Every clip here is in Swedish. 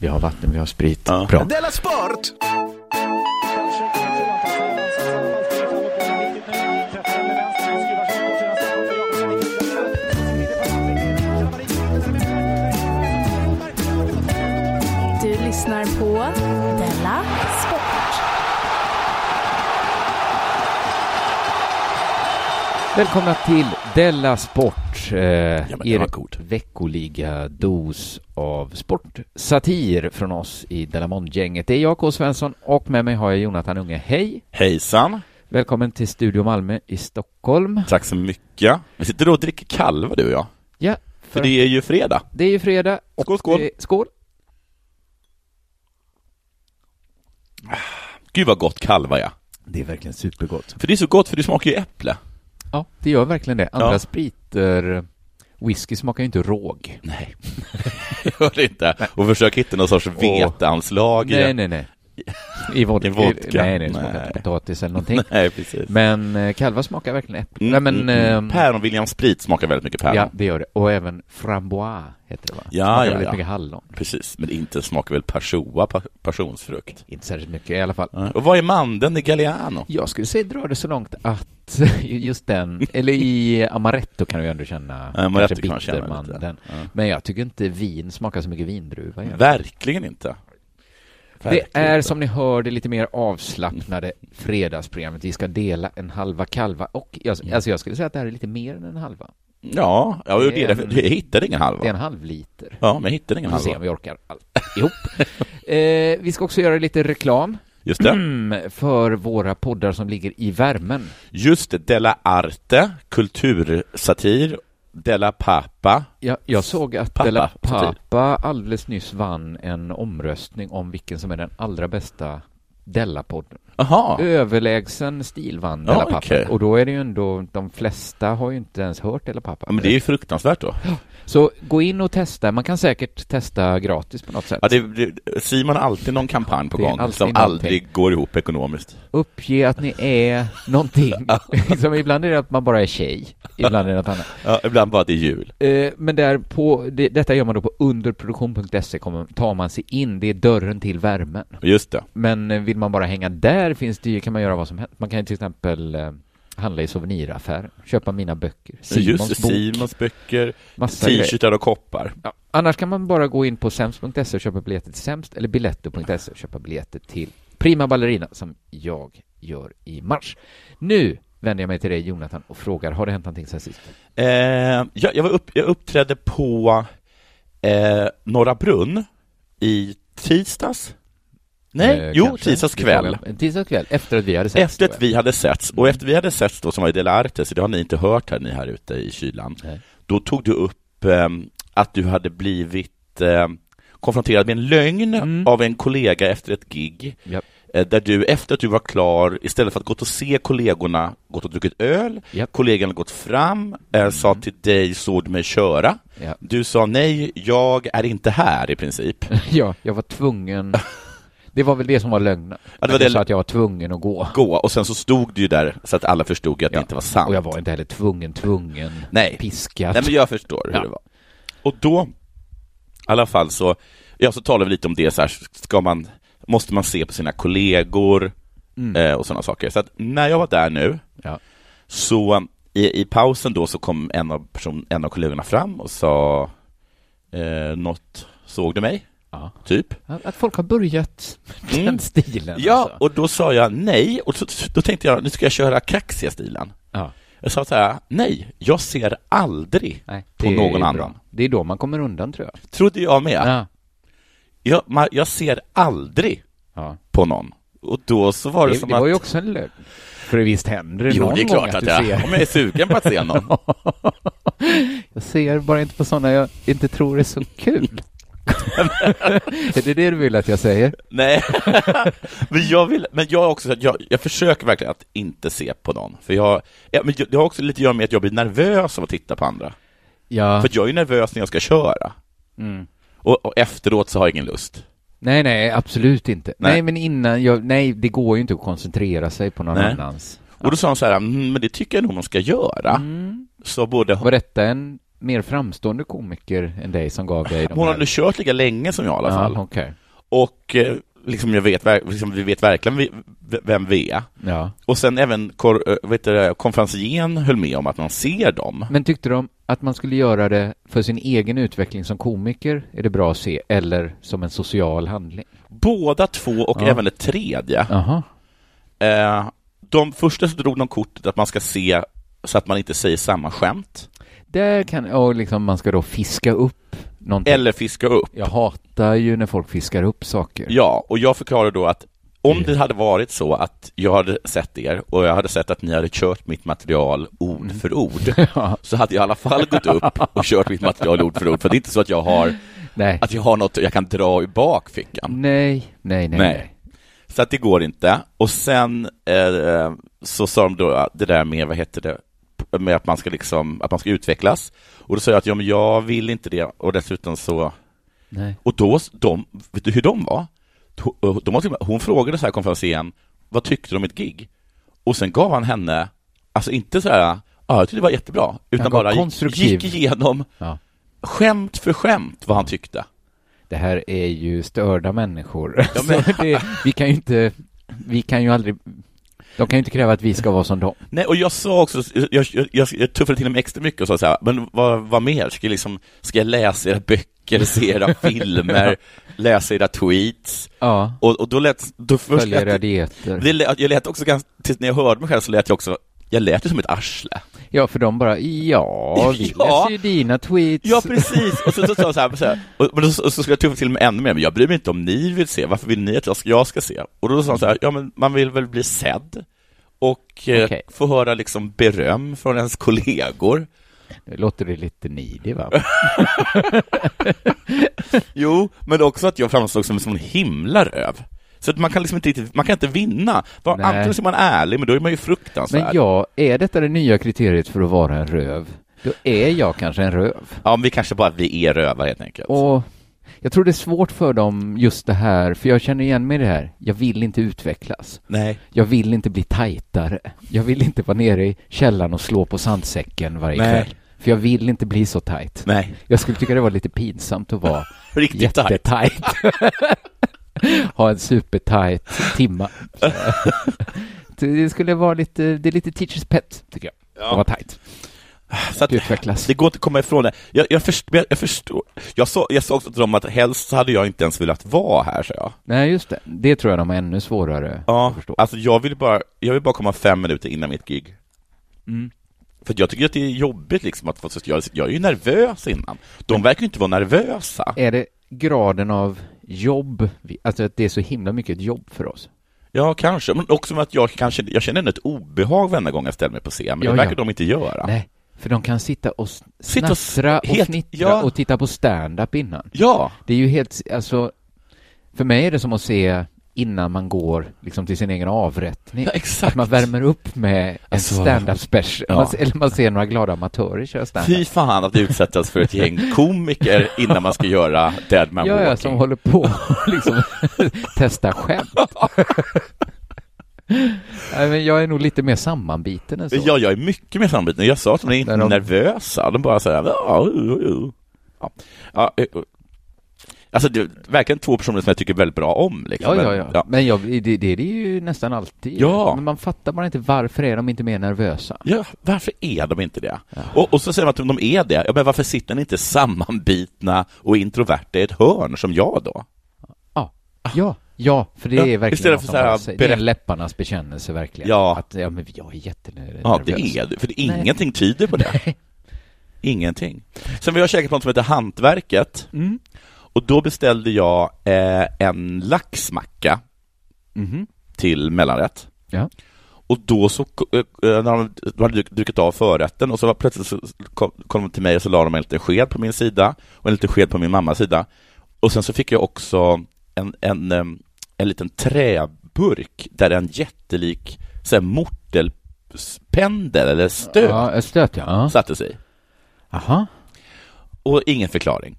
Vi har vatten, vi har sprit. Ja. Bra. Della Sport! Du lyssnar på Della Sport. Välkomna till Della Sport. Eh, men det er var god. veckoliga dos av sportsatir från oss i Della Mond-gänget. Det är jag, K. Svensson, och med mig har jag Jonathan Unge. Hej! Hejsan, Välkommen till Studio Malmö i Stockholm. tack så mycket. Vi sitter och dricker kalva du och jag, Ja, för det är ju fredag. det är ju fredag. och Skål, skål. det är- Skål! Gud vad gott kalva ja. Det är verkligen supergott. För det är så gott för det smakar ju äpple. Ja, det gör verkligen det. Andra Ja. spriter... Whisky smakar ju inte råg. Nej, gör det inte. Och försök hitta någon sorts veteanslag i Nej, det. nej, nej. I vodka. I vodka. Nej, nej, det smakar Nej. inte potatis eller någonting. Nej, precis. Men eh, kalva smakar verkligen äpple. Mm, Nej, men... mm, mm. ehm, Päron William Sprit smakar väldigt mycket päron. Ja, det gör det. Och även frambois heter det va? Ja, smakar ja, väldigt ja. mycket hallon. Precis, men inte smakar väl persoa, pa- passionsfrukt. Inte särskilt mycket i alla fall. Nej. Och vad är mandeln i Galliano? Jag skulle säga dra det så långt att just den, eller i amaretto kan du ju ändå känna Ja, amaretto kanske kan man känna lite. bittermandeln. Ja. Men jag tycker inte vin smakar så mycket vindruva. egentligen. Verkligen inte. Det Verkligen är inte. Mm. som ni hör det lite mer avslappnade fredagsprogrammet. Vi ska dela en halva kalva och Mm. jag, alltså jag skulle säga att det här är lite mer än en halva. Ja, ja det Det är är därför, en- jag hittade ingen halva. Det är en halv liter. Ja, men jag hittade Vi ingen får se om halva. vi orkar allt ihop. eh, vi ska också göra lite reklam. Just det. Mm, för våra poddar som ligger i värmen. Just det, Della Arte, kultursatir, Della Pappa. Jag, jag såg att Pappa, typ. Della satir. Pappa alldeles nyss vann en omröstning om vilken som är den allra bästa Della-podden. Aha. Överlägsen stil vann Ja, Della Pappa. okej. Och då är det ju ändå, de flesta har ju inte ens hört Della Pappa. Ja, men det är ju fruktansvärt då. Så gå in och testa, man kan säkert testa gratis på något sätt. Ja, det, det, Simon har alltid någon kampanj på Det är gång alltid som någonting. aldrig går ihop ekonomiskt. Uppge att ni är någonting. liksom, ibland är det att man bara är tjej, ibland är det något annat. Ja, ibland bara att det är jul. Eh, men där på, det, detta gör man då på underproduktion.se, E, kommer, tar man sig in, det är dörren till värmen. Just det. Men eh, vill man bara hänga där finns det ju, kan man göra vad som helst. Man kan ju till exempel eh, handla i souvenirataffärer, köpa mina böcker, Simons Just det, bok, Simons böcker, massa grejer. t-shirtar och koppar. Ja. Annars kan man bara gå in på sämst.se E och köpa biljetter till sämst, eller biletto.se E och köpa biljetter till Prima Ballerina, som jag gör i mars. Nu vänder jag mig till dig Jonathan och frågar, har det hänt någonting sen sist? Eh, jag, jag, var upp, jag uppträdde på eh, Norra Brunn i tisdags. Nej, Eh, jo, kanske? tisdags Det kväll. frågar jag. Tisdags kväll, efter att vi hade sett Efter att vi hade setts, och efter vi hade setts då, som var i Delarte, så det har ni inte hört här, ni här ute i kylan, Nej. då tog du upp ehm, att du hade blivit ehm, konfronterad med en lögn av en kollega efter ett gig, Mm. Japp. eh, där du efter att du var klar, istället för att gått och se kollegorna, gått och druckit öl, Japp. Mm. kollegan gått fram, eh, sa till dig, såg du mig köra? Ja. Du sa nej, jag är inte här i princip. Ja, jag var tvungen. Det var väl det som var lögnen. var jag det- sa att jag var tvungen att gå. Gå, och sen så stod du ju där så att alla förstod att Ja, det inte var sant. Och jag var inte heller tvungen, tvungen, Nej. piskad. Nej, men jag förstår hur Ja. det var. Och då, i alla fall så, ja, så talar vi lite om det så här, ska man, måste man se på sina kollegor eh, och sådana saker. Så att när jag var där nu, Mm. Ja. så i, i pausen då så kom en av, person, en av kollegorna fram och sa eh, något, såg du mig? Ja. Typ. Att att folk har börjat med Mm. den stilen. Ja, alltså. och då sa jag nej, och så, då tänkte jag, nu ska jag köra kaxiga stilen. ja. Jag sa så här, nej, jag ser aldrig Nej, på det är någon bra. annan. Det är då man kommer undan, tror jag. Trodde jag med. Ja. jag, man, jag ser aldrig ja. på någon. Och då så var det, Det, som det att... var ju också en lögn. För visst händer det jo, någon det är gång klart att att du jag, ser. om jag är sugen på att se någon. Jag ser bara inte på sådana jag inte tror är så kul. är det det du vill att jag säger? Nej, men jag vill, men jag är också, så att jag, jag försöker verkligen att inte se på någon. För jag, ja, men jag- det har också lite att göra med att jag blir nervös av att titta på andra. Ja. Mm. För att jag är ju nervös när jag ska köra. Och, och efteråt så har jag ingen lust. Nej, nej, absolut inte. Nej, Nej. men innan, jag, nej, det går ju inte att koncentrera sig på någon Nej. annans. Och då sa de så här, "Mm, men det tycker jag nog man ska göra. Så både... Var detta en mer framstående komiker än dig som gav dig de Hon har här? nu kört lika länge som jag i alla fall. Ja, okej. Och eh, liksom jag vet, verk- liksom, vi vet verkligen vi- v- vem vi är. ja. Och sen även kor, eh, vet du, det, konferencieren höll med om att man ser dem. Men tyckte de att man skulle göra det för sin egen utveckling som komiker, är det bra att se, eller som en social handling? Båda två och Ja. även det tredje. Jaha. Eh, de första så drog de kortet att man ska se så att man inte säger samma skämt. Där kan, och liksom man ska då fiska upp någonting. Eller fiska upp. Jag hatar ju när folk fiskar upp saker. Ja, och jag förklarar då att om Mm. det hade varit så att jag hade sett er och jag hade sett att ni hade kört mitt material ord för ord, så hade jag i alla fall gått upp och kört mitt material ord för ord, för det är inte så att jag har, Nej. att jag har något jag kan dra i bakfickan. nej, nej, nej, Nej. nej. Så att det går inte. Och sen eh, så sa de då det där med, vad heter det, med att man ska liksom, att man ska utvecklas. Och då sa jag att ja, men jag vill inte det och dessutom så, nej. och då, de, vet du hur de var? eh, De, de var till och med- hon frågade så här konferensen, vad tyckte du om mitt gig? Och sen gav han henne, alltså inte så här, ja, jag tyckte det var jättebra, utan gav bara gick, konstruktiv- gick igenom Ja. skämt för skämt vad han tyckte. Det här är ju störda människor. Ja, men- Så det, vi kan ju inte, vi kan ju aldrig, de kan ju inte kräva att vi ska vara som dem. Nej, och jag sa också, jag, jag, jag, jag tuffade till mig extra mycket och sa så här, men vad, vad mer? Ska jag, liksom, ska jag läsa era böcker, se era filmer, läsa era tweets? Ja, Och, och då lät, då först följa era lät, dieter. det lät, jag lät också ganska, tills när jag hörde mig själv så lät jag också, jag lät ju som ett arsle. Ja, för de bara, ja, vi Ja. läser ju dina tweets. Ja, precis! Och så, så, sa jag så, här, så, här, och, men så, och så skulle jag tuffa till mig ännu mer, men jag bryr mig inte om ni vill se, varför vill ni att jag ska, jag ska se? Och då sa han så här, ja men man vill väl bli sedd och eh, Okej. få höra liksom beröm från ens kollegor. Nu låter det lite nidig, va? Jo, men också att jag framstod som en sån himla röv. Så att man kan liksom inte, riktigt- man kan inte vinna. Var, Nej. antingen så är man ärlig, men då är man ju fruktansvärd. Men ja, är detta det nya kriteriet för att vara en röv? Då är jag kanske en röv. Ja, men vi kanske bara, vi är rövar helt enkelt. Och jag tror det är svårt för dem just det här, för jag känner igen mig i det här. Jag vill inte utvecklas. Nej. Jag vill inte bli tajtare. Jag vill inte vara nere i källaren och slå på sandsäcken varje Nej. kväll. För jag vill inte bli så tajt. Nej. Jag skulle tycka det var lite pinsamt att vara Riktigt tajt. jättetajt. ha en supertajt timma. det skulle vara lite, det är lite teachers pet, tycker jag. Att vara Ja. tajt. Så att, Att utvecklas. det går inte att komma ifrån det. Jag, jag, först, jag, jag förstår. Jag sa, jag sa också till dem att helst så hade jag inte ens velat vara här, sa jag. Nej, just det. Det tror jag de har ännu svårare Ja, att förstå. alltså jag vill bara, jag vill bara komma fem minuter innan mitt gig. Mm. För att jag tycker att det är jobbigt liksom att, få- jag, jag är ju nervös innan. De verkar ju inte vara nervösa. Är det graden av jobb, vi- alltså att det är så himla mycket ett jobb för oss? Ja, kanske. Men också med att jag kanske, jag känner ändå ett obehag varenda gång jag ställer mig på scen, men Ja, det verkar ja. de inte göra. Nej, för de kan sitta och s- Sitta och s- snattra och, helt- fnittra ja. och titta på stand-up innan. Ja, Det är ju helt, alltså, för mig är det som att se innan man går liksom till sin egen avrättning. ja Att exakt. man värmer upp med en Alltså, stand-up special, ja. Man se- eller man ser några glada amatörer köra stand-up. Fy fan att utsättas för ett gäng komiker innan man ska göra Dead Man Ja, ja, Walking. som håller på och liksom testa skämt. Nej, men jag är nog lite mer sammanbiten än så. Ja, jag är mycket mer sammanbiten. Jag sa att de är inte När de- nervösa. De bara säger ja, uh, uh, uh. ja. ja uh, uh. Alltså, det är verkligen två personer som jag tycker väldigt bra om. Ja, Liksom. ja, Men, ja. Men jag, det, det, det är ju nästan alltid. Ja. Men man fattar bara inte varför är de inte mer nervösa. Ja, varför är de inte det? Och, och så säger man att de är det. Ja, men varför sitter ni inte sammanbitna och introverta i ett hörn som jag då? Ja, Ah. ja, ja för det Ja, är verkligen istället något för som så här, bara säger- Det är berätt- en läpparnas bekännelse verkligen. Ja. Att, ja, men jag är jättenervös. Ja, det är det. För det, Nej. ingenting tyder på det. Ingenting. Sen var jag käkat på något som heter Hantverket. Mm. Och då beställde jag eh, en laxmacka Mhm. till mellanrätt. Ja. Och då så, eh, när de de hade duk- druckit av förrätten och så var plötsligt så kom, kom de till mig och så la de en liten sked på min sida och en liten sked på min mammas sida. Och sen så fick jag också en, en, eh, en liten träburk där en jättelik så här, mortelpendel eller stöt Ja, ett stöt ja. ja. satte sig Aha. Och ingen förklaring.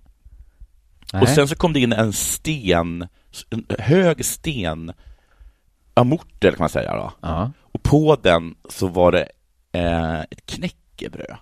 Nej. Och sen så kom det in en sten, en hög sten, ja, mortel kan man säga då. Ja. Och på den så var det eh, ett knäckebröd.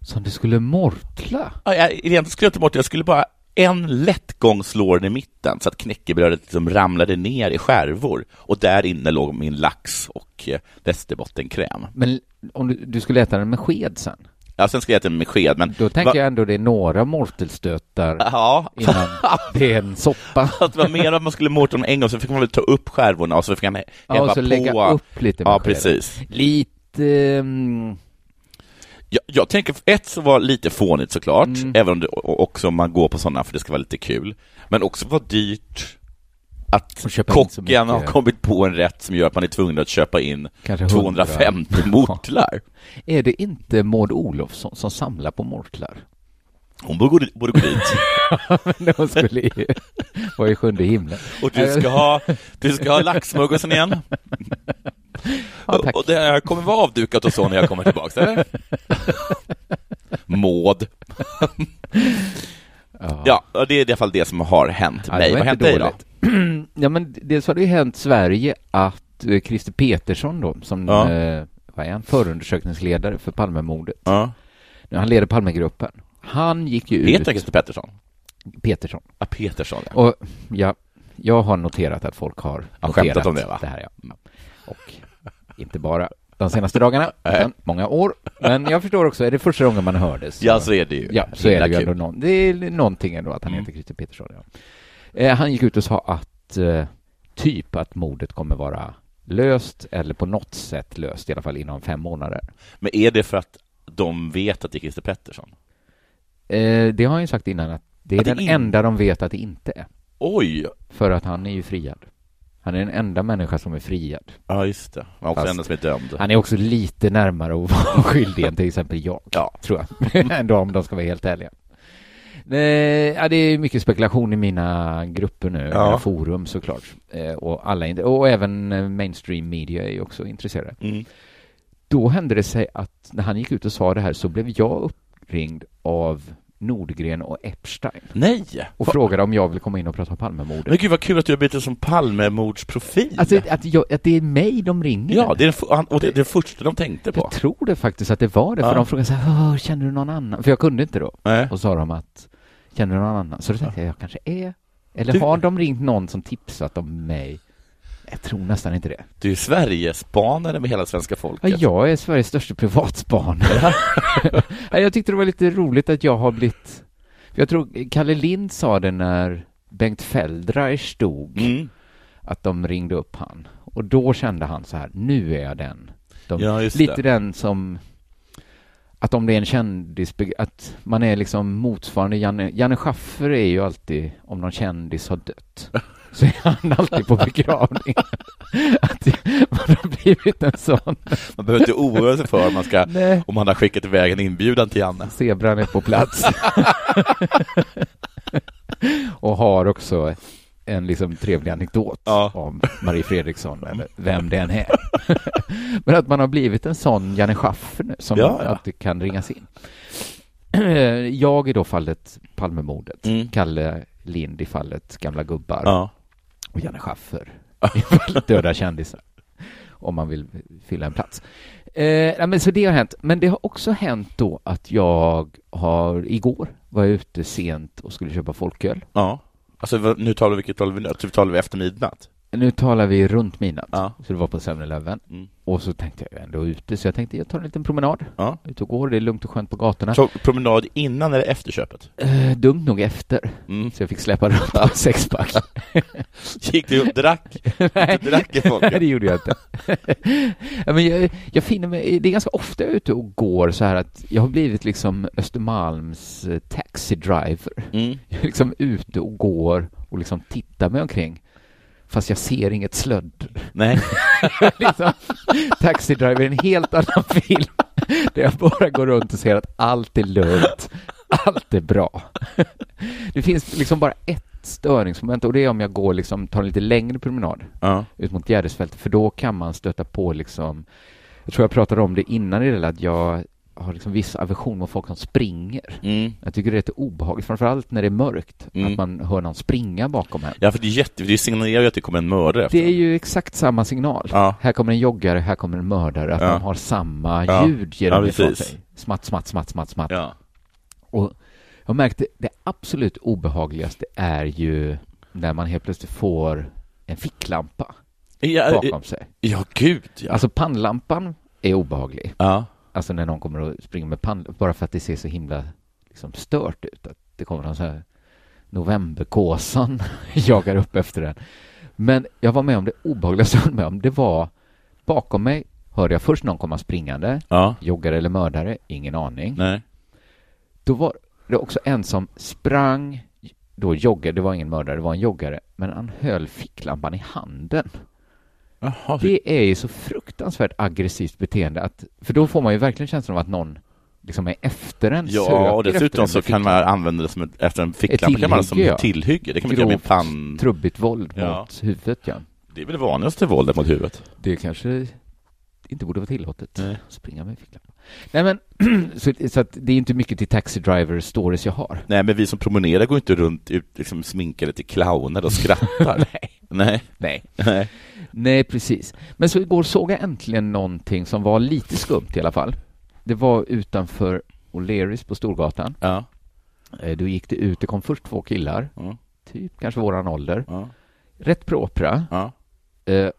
Som du skulle mortla? Ja, jag, egentligen skulle jag ta bort det. Jag skulle bara en lättgång slå den i mitten så att knäckebrödet liksom ramlade ner i skärvor. Och där inne låg min lax och eh, västerbottenkräm. Men om du, du skulle äta den med sked sen? Ja, sen skulle jag äta den med sked, men... Då tänker Va- jag ändå det är några mortelstötar Ja, innan det är en soppa. att det var mer att man skulle morta dem en gång, så fick man väl ta upp skärvorna och så fick man hä- Ja, häva och så på. lägga upp lite med ja, skeden. precis. Lite... mm, Jag, jag tänker, ett så var lite fånigt såklart, Mm. även om det, och också om man går på sådana för det ska vara lite kul, men också var dyrt att Och köpa in så kocken har mycket. kommit på en rätt som gör att man är tvungen att köpa in Kanske 250 hundra. mortlar. Är det inte Maud Olofsson som samlar på mortlar? Hon borde, gå- borde gå dit. De skulle ju vara i sjunde himlen. Och du ska ha, du ska ha laxsmörgåsen igen. Ja, tack. och det här kommer vara avdukat och så när jag kommer tillbaka, eller? Maud. ja, och det är i alla fall det som har hänt Ja, det mig. var Vad har hänt inte dig då? dåligt. ja, men dels har det ju hänt Sverige att eh, Christer Petersson då, som Ja. eh, vad är han, förundersökningsledare för Palmemordet, Ja. när han leder Palmegruppen, han gick ju Heter han ut, Christer Pettersson? Petersson, Ja, Petersson, ja. och ja, jag har noterat att folk har Ja, noterat skämtat om det, va? här, ja. ja. Och inte bara de senaste dagarna, utan många år. Men jag förstår också, är det första gången man hör det? så- Ja, så är det ju. Ja, så är det ju Himla ändå kul. någon, det är någonting ändå att han Mm. heter Christer Petersson. Ja. Eh, han gick ut och sa att eh, typ att mordet kommer vara löst eller på något sätt löst i alla fall inom fem månader. Men är det för att de vet att det är Christer Pettersson? Eh, det har han ju sagt innan att det är Att det den in- enda de vet att det inte är. Oj! För att han är ju friad. Han är den enda människa som är friad. Ja, just det. Man också Fast- enda som är dömd. Han är också lite närmare att vara skyldig än till exempel jag. Ja. tror jag. Ändå om de ska vara helt ärliga. Eh, ja, det är mycket spekulation i mina grupper nu, Ja. mina forum såklart. Eh, och, alla inte, och även eh, mainstream media är ju också intresserade. Mm. Då hände det sig att när han gick ut och sa det här så blev jag uppringd av Nordgren och Epstein Nej! och Va- frågade om jag vill komma in och prata om Palmemordet. Men gud vad kul att du har blivit en sån Palmemordsprofil. Alltså att, jag, att det är mig de ringer? Ja, det är den, f- han- och det, det är det första de tänkte på. Jag tror det faktiskt att det var det, för Ja. de frågade så här, "Åh, känner du någon annan? För jag kunde inte då. Nej. Och sa de att, känner du någon annan? Så då tänkte jag, jag kanske är, eller Du- har de ringt någon som tipsat om mig? Jag tror nästan inte det. Du är Sverigespanare med hela svenska Ja, folket. jag är Sveriges största privatspanare. Nej, jag tyckte det var lite roligt att jag har blivit, för jag tror Kalle Lind sa det när Bengt Feldreich dog, Mm. att de ringde upp han. Och då kände han så här, nu är jag den. De, Ja, just lite det. den som att om det är en kändis, att man är liksom motsvarande Janne, Janne Schaffer är ju alltid, om någon kändis har dött, så är han alltid på begravning. Att man har blivit en sån, Man behöver inte oroa sig för om man, ska, nej, om man har skickat iväg en inbjudan till Janne. zebran är på plats. Och har också en liksom trevlig anekdot Ja. om Marie Fredriksson, eller vem den är. Men att man har blivit en sån Janne Schaffer nu, som Ja, ja. alltid kan ringas in. Jag i då fallet Palmemordet, Mm. Kalle Lind i fallet Gamla gubbar Ja. och Janne Schaffer i fallet Döda kändisar, om man vill fylla en plats. Eh, nej, men så det har hänt. Men det har också hänt då att jag har, igår var jag ute sent och skulle köpa folköl. ja. Alltså vad- nu talar vi, vilket talar vi nu? Typ talar vi efter midnatt? Nu talar vi runt midnatt, Ja. så det var på 7-Eleven. Mm. Och så tänkte jag ändå ute, så jag tänkte jag tar en liten promenad. Ja. Ut och går, det är lugnt och skönt på gatorna. Så promenad innan eller efter köpet? Eh, dumt nog efter, Mm. så jag fick släppa runt på en sexpack. Gick du och drack? Nej. Du drack i folk? Nej, det gjorde jag inte. ja, men jag, jag finner mig, det är ganska ofta jag är ute och går så här att jag har blivit liksom Östermalms eh, taxi driver. Mm. Jag är liksom ute och går och liksom tittar mig omkring. Fast jag ser inget slödd. Nej. liksom, taxi driver är en helt annan film. Där jag bara går runt och ser att allt är lugnt. Allt är bra. Det finns liksom bara ett störningsmoment och det är om jag går liksom, tar en lite längre promenad Ja. ut mot Gärdesfältet, för då kan man stöta på liksom, jag tror jag pratade om det innan i det där, att jag har liksom viss aversion mot folk som springer. Mm. Jag tycker det är lite obehagligt, framförallt när det är mörkt, Mm. att man hör någon springa bakom en. Ja, för det, är jätte, det signalerar ju att det kommer en mördare efter Det är ju exakt samma signal. Ja. Här kommer en joggare, här kommer en mördare, att Ja. man har samma Ja. ljud ger de Ja, ifrån precis. sig. Smatt, smatt, smatt, smatt, smatt. Ja. Och jag har märkt det, det absolut obehagligaste är ju när man helt plötsligt får en ficklampa Ja, ja, bakom sig. ja, gud ja. Alltså pannlampan är obehaglig. ja. Alltså när någon kommer och springer med pannlampan, bara för att det ser så himla liksom, stört ut. Att det kommer någon så här novemberkåsan jagar upp efter den. Men jag var med om det obehagligaste jag var med om. Det var bakom mig hörde jag först någon komma springande, ja. joggare eller mördare, ingen aning. Nej. Då var det också en som sprang, då joggade, det var ingen mördare, det var en joggare, men han höll ficklampan i handen. Jaha, det... Det är ju så fruktansvärt aggressivt beteende att, för då får man ju verkligen känslan av att någon liksom är efter en, söker ja och efter en dessutom så med kan man använda det som ett, efter en ficklampa kan man som tillhygge, ja. tillhygge. Det kan man göra med Grovt pann. Trubbigt våld Ja. mot huvudet, ja. Det är väl det vanligaste våldet mot huvudet. Det kanske inte borde vara tillåtet. Nej. Springa med ficklampa. Nej men, så, så att det är inte mycket till Taxi Driver stories jag har. Nej, men vi som promenerar går inte runt ut, liksom, sminkade till clowner och skrattar. Nej. Nej. Nej. Nej. Nej, precis. Men så igår såg jag äntligen någonting som var lite skumt i alla fall. Det var utanför O'Learys på Storgatan. Ja. Eh, Då gick det ut, det kom först två killar, Ja. typ kanske våran ålder, Ja. rätt propra. Ja. eh,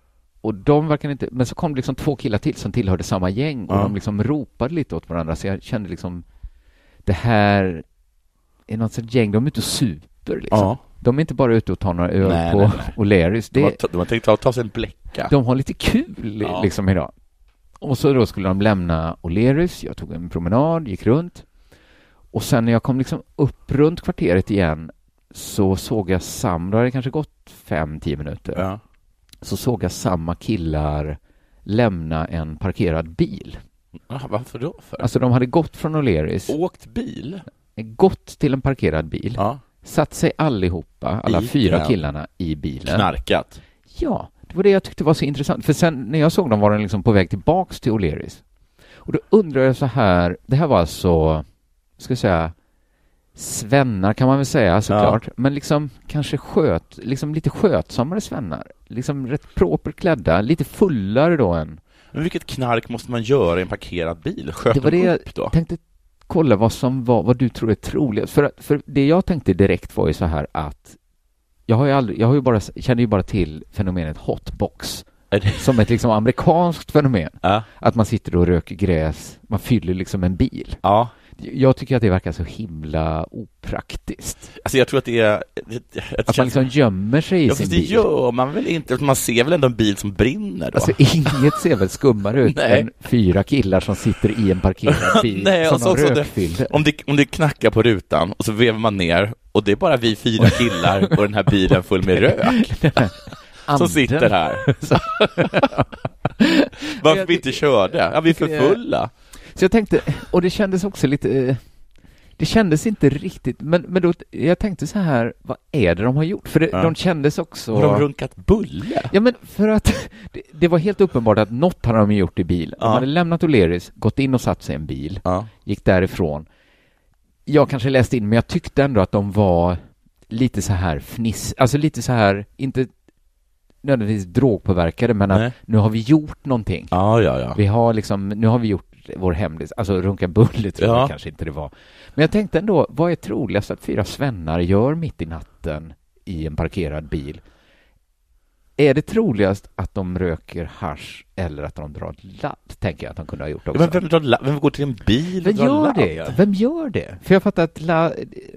Och de verkar inte, men så kom det liksom två killar till som tillhörde samma gäng och Ja. de liksom ropade lite åt varandra så jag kände liksom det här är något sorts gäng, de är ute och super liksom. ja. De är inte bara ute och tar några öl Nej, på nej, O'Learys. De, Det- har, ta- de har tänkt ta, ta sig en bläcka. de har lite kul Ja. liksom idag. Och så då skulle de lämna O'Learys, jag tog en promenad, gick runt. Och sen när jag kom liksom upp runt kvarteret igen så såg jag samma, då hade det kanske gått fem, tio minuter, Ja. så såg jag samma killar lämna en parkerad bil. Jaha, Ah, varför då? För? Alltså de hade gått från O'Learys, Åkt bil? gått till en parkerad bil, Oh. Ja. satt sig allihopa, alla I fyra den. killarna, i bilen. Knarkat? Ja, det var det jag tyckte var så intressant. För sen när jag såg dem var den liksom på väg tillbaks till O'Learys. Och då undrar jag så här, det här var alltså, ska jag säga, svennar kan man väl säga såklart, men liksom kanske sköt, liksom lite skötsammare svennar. Liksom rätt propert klädda, lite fullare då än. Men vilket knark måste man göra i en parkerad bil? Sköt Det var de det upp då? Tänkte kolla vad som var, vad du tror är troligast. För, att- för det jag tänkte direkt var ju så här att jag har ju aldrig, jag har ju bara, känner ju bara till fenomenet hotbox. Är det... som ett liksom amerikanskt fenomen. Ja. Att man sitter och röker gräs, man fyller liksom en bil. ja. Jag tycker att det verkar så himla opraktiskt. Alltså jag tror att det är... Det, jag Att man liksom gömmer sig i ja, sin fast det bil. gör man väl inte? Man ser väl ändå en bil som brinner då? Alltså inget ser väl skummare ut Nej. än fyra killar som sitter i en parkerad bil Nej, som och så de också det- rökfyller. Om det, om det knackar på rutan och så vevar man ner och det är bara vi fyra killar och den här bilen full med rök som Anden. sitter här. Varför vi inte körde? Ja, vi är för fulla. Så jag tänkte, och det kändes också lite, eh, det kändes inte riktigt, men, men då, jag tänkte så här, vad är det de har gjort? För det, Ja. de kändes också... Har de runkat bulle? Ja, men för att det, det var helt uppenbart att något hade de gjort i bilen. De Ja. hade lämnat O'Learys, gått in och satt sig i en bil, Ja. gick därifrån. Jag kanske läste in, men jag tyckte ändå att de var lite så här fniss, alltså lite så här, inte nödvändigtvis drogpåverkade, men att Nej. nu har vi gjort någonting. Ja, ja, ja. Vi har liksom, nu har vi gjort vår hemlis, alltså runka bulle tror Ja. jag kanske inte det var. Men jag tänkte ändå, vad är troligast att fyra svennar gör mitt i natten i en parkerad bil? Är det troligast att de röker hasch eller att de drar ladd, tänker jag att de kunde ha gjort också. Men vem, drar la- vem går till en bil och Vem drar gör ladd? det? ja? Vem gör det? För jag fattar att la,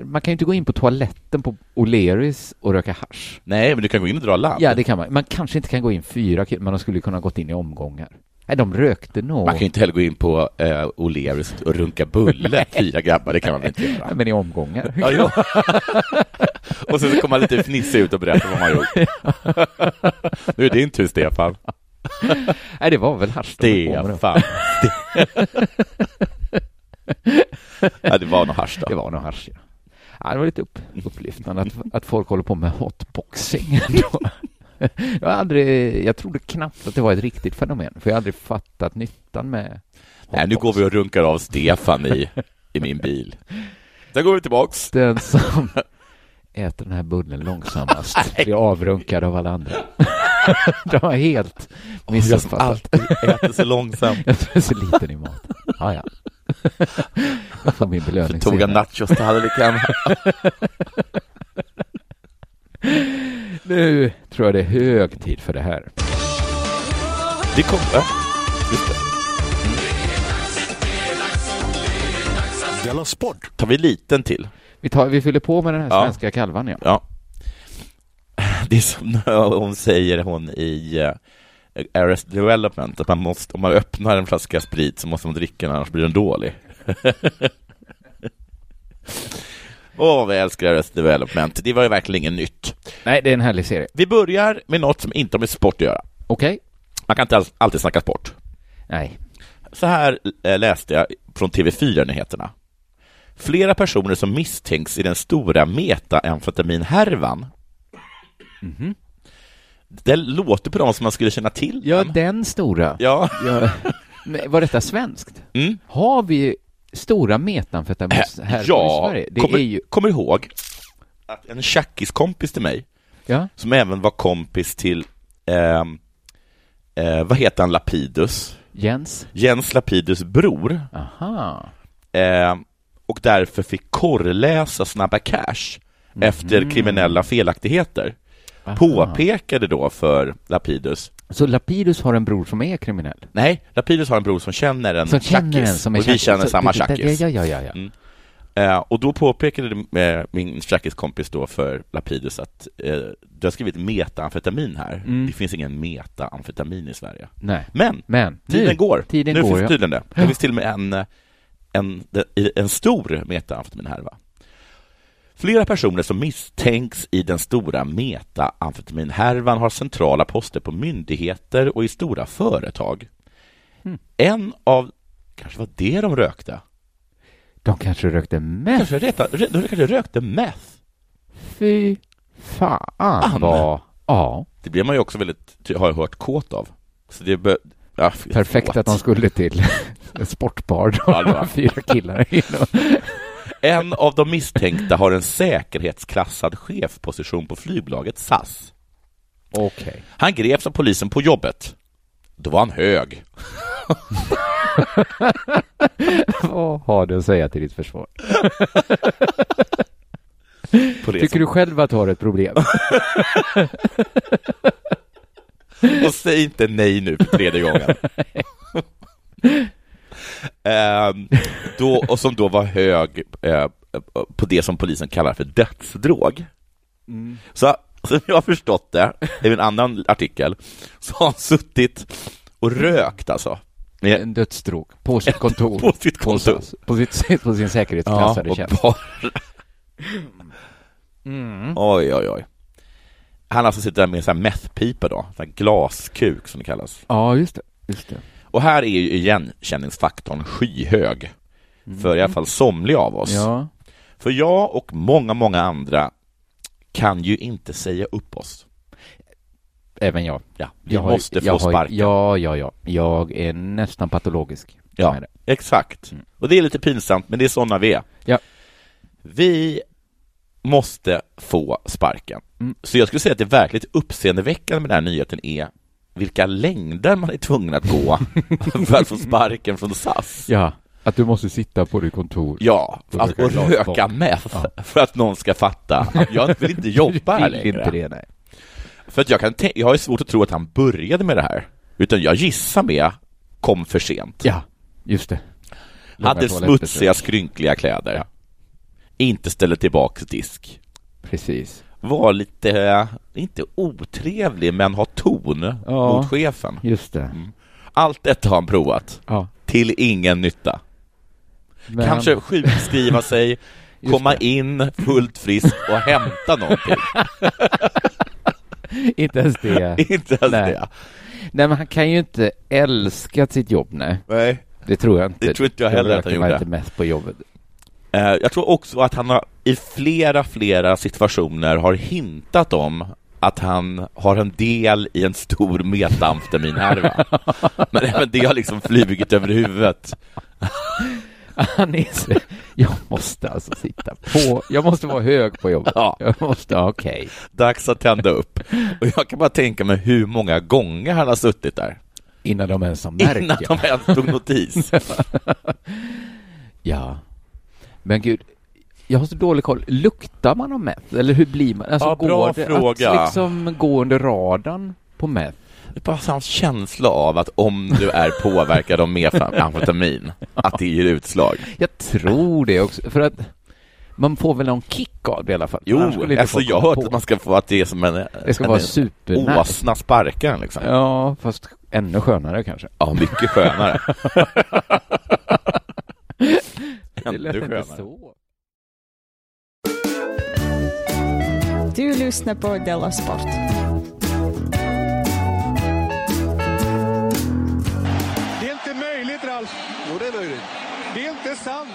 man kan ju inte gå in på toaletten på O'Learys och röka hasch. Nej, men du kan gå in och dra ladd. Ja, det kan man. Man kanske inte kan gå in fyra killar, men de skulle kunna ha gått in i omgångar. Nej, de rökte nog. Man kan ju inte heller gå in på eh, O'Learys och runka bulle, fyra grabbar, det kan man väl inte göra? Nej, men i omgångar. Ja, jo. och sen så kommer man lite fnissig ut och berättar vad man har gjort. nu är det din tur, Stefan. Nej, det var väl hasch de höll på med då. Stefan. ja, det var nog hasch Det då. var nog hasch, ja. ja. Det var lite upp, Mm. upplyftande att, att folk håller på med hotboxing. ändå. jag, har aldrig, jag trodde knappt att det var ett riktigt fenomen, för jag har aldrig fattat nyttan med... Nej, nu går vi och runkar av Stefan i, i min bil. Sen går vi tillbaks. Den som äter den här bullen långsammast blir avrunkad av alla andra. De har helt jag som missuppfattat. alltid äter så långsamt. Jag tror jag är så liten i mat. Ja, ja. Jag får min belöning Tog jag senare. nachostallriken. Nu tror jag det är hög tid för det här. Det kom... Ja, just det. Della Sport! Tar vi liten till? Vi, tar, vi fyller på med den här Ja. svenska kalvan, ja. Ja. Det är som hon säger hon i eh, Arrest Development, att man måste, om man öppnar en flaska sprit så måste man dricka den, annars blir den dålig. Åh, vad jag älskar Arrest Development. Det var ju verkligen inget nytt. Nej, det är en härlig serie. Vi börjar med något som inte har med sport att göra. Okej? Man kan inte alls, alltid snacka sport. Nej. Så här eh, läste jag från TV4-nyheterna. Flera personer som misstänks i den stora metaamfetaminhärvan. Mhm. Det låter på dem som man skulle känna till Ja, den. den stora. Mm. Ja, Ja. Men var detta svenskt? Mm. Har vi stora metamfetamin här i Äh, ja. Sverige? Det kommer, är ju... kommer ihåg att en tjackiskompis till mig, Ja. som även var kompis till, ehm, eh, vad heter han, Lapidus? Jens? Jens Lapidus bror, Aha. eh, och därför fick korrläsa Snabba Cash efter kriminella felaktigheter. Mhm. Aha. Påpekade då för Lapidus, Så Lapidus har en bror som är kriminell? nej, Lapidus har en bror som känner en Som känner en Mm, tjackis, som är och vi tjackis. känner Så- samma det- det- tjackis. Ja, ja, ja. ja. Mm. Eh, och då påpekade det, eh, min tjackiskompis då för Lapidus att eh, du har skrivit metaamfetamin här. Mm. Det finns ingen metaamfetamin i Sverige. Nej. Men Men tiden nu, går. tiden nu går, finns ja. tydligen det. Det finns till och med en, eh, en, de- en stor metaamfetaminhärva. Flera personer som misstänks i den stora metaamfetaminhärvan har centrala poster på myndigheter och i stora företag. Hmm. En av, kanske var det de rökte? de kanske rökte meth. Kanske, reta, re, de kanske rökte meth? Fy fan vad... Ja, Det blir man ju också väldigt, ty- har jag hört, kåt av. Så det bör, ja, f- perfekt att de skulle till en sportbar. Då Ja, det var- var fyra killar inne och- En av de misstänkta har en säkerhetsklassad chefposition på flygbolaget SAS. Okej. Han greps av polisen på jobbet. Då var han hög. Vad har du att säga till ditt försvar? På det Tycker du själv att du har ett problem? som- Och säg inte nej nu för tredje gången. Ehm, då, och som då var hög eh, på det som polisen kallar för dödsdrog. Mm. Så som jag har förstått det, i en annan artikel, så har han suttit och rökt alltså. Med En dödsdrog på sitt kontor. på sitt kontor. SAS. På, sitt, på sin säkerhetsklassade tjänst. och bara... Mm. Oj, oj, oj. Han har alltså suttit där med en sån här methpipa då, en sån här glaskuk som det kallas. Ja, just det. Just det. Och här är ju igenkänningsfaktorn skyhög. För i alla fall somliga av oss. Mm. Ja. För jag och många, många andra kan ju inte säga upp oss. Även jag. Ja, vi Jag har ju- måste jag få har ju- sparken. Ja, ja, ja. Jag är nästan patologisk. Ja. Med det. Mm. Exakt. Och det är lite pinsamt, men det är sådana vi är. Ja. Vi måste få sparken. Mm. Så jag skulle säga att det verkligt uppseendeväckande med den här nyheten är vilka längder man är tvungen att gå för att få sparken från SAS. ja. Att du måste sitta på ditt kontor. Ja, Och att, röka och glasbok. röka meth för att någon ska fatta att jag vill inte jobba här Vill inte det, längre. nej. För att jag, kan tän- jag har ju svårt att tro att han började med det här, utan jag gissar med kom för sent. Ja, just det. Långa Hade toalettbesök. smutsiga, skrynkliga kläder. Inte ställde tillbaks disk. Precis. Var lite, eh, inte otrevlig, men ha ton Ja. mot chefen. Just det. Allt detta har han provat, Ja. till ingen nytta. Men- Kanske sjukskriva sig, Just komma in fullt frisk och hämta någonting. Inte ens det. inte ens Nej. det. Nej, men han kan ju inte älska sitt jobb, nej. Nej. Det tror jag inte. Det tror inte jag heller att han röker man gjorde. inte mest på jobbet. Eh, Jag tror också att han har, i flera, flera situationer har hintat om att han har en del i en stor metamfetaminhärva. Men även det har liksom flugit över huvudet. Han är så... Jag måste alltså sitta på... Jag måste vara hög på jobbet. Ja. Jag måste... Okej. Dags att tända upp. Och jag kan bara tänka mig hur många gånger han har suttit där Innan de ens har märkt. innan ja. de ens tog notis. Ja. Men gud, jag har så dålig koll. Luktar man om meth? Eller hur blir man? Alltså, Ja, går bra det fråga. att liksom gå under radarn på meth? Det är bara hans känsla av att om du är påverkad av metamfetamin, att det ger utslag. Jag tror det också, för att man får väl någon kick av det i alla fall. Jo, Annars skulle inte alltså folk jag har komma hört på. att man ska få att det är som en, Det ska en, vara en supernice. åsna sparkar en, liksom. Ja. Ja, fast ännu skönare kanske. mycket skönare. Det lät Ännu inte skönare. så. Du lyssnar på Della Sport. Det är inte möjligt, Ralf. Jo, det är möjligt. Det är inte sant.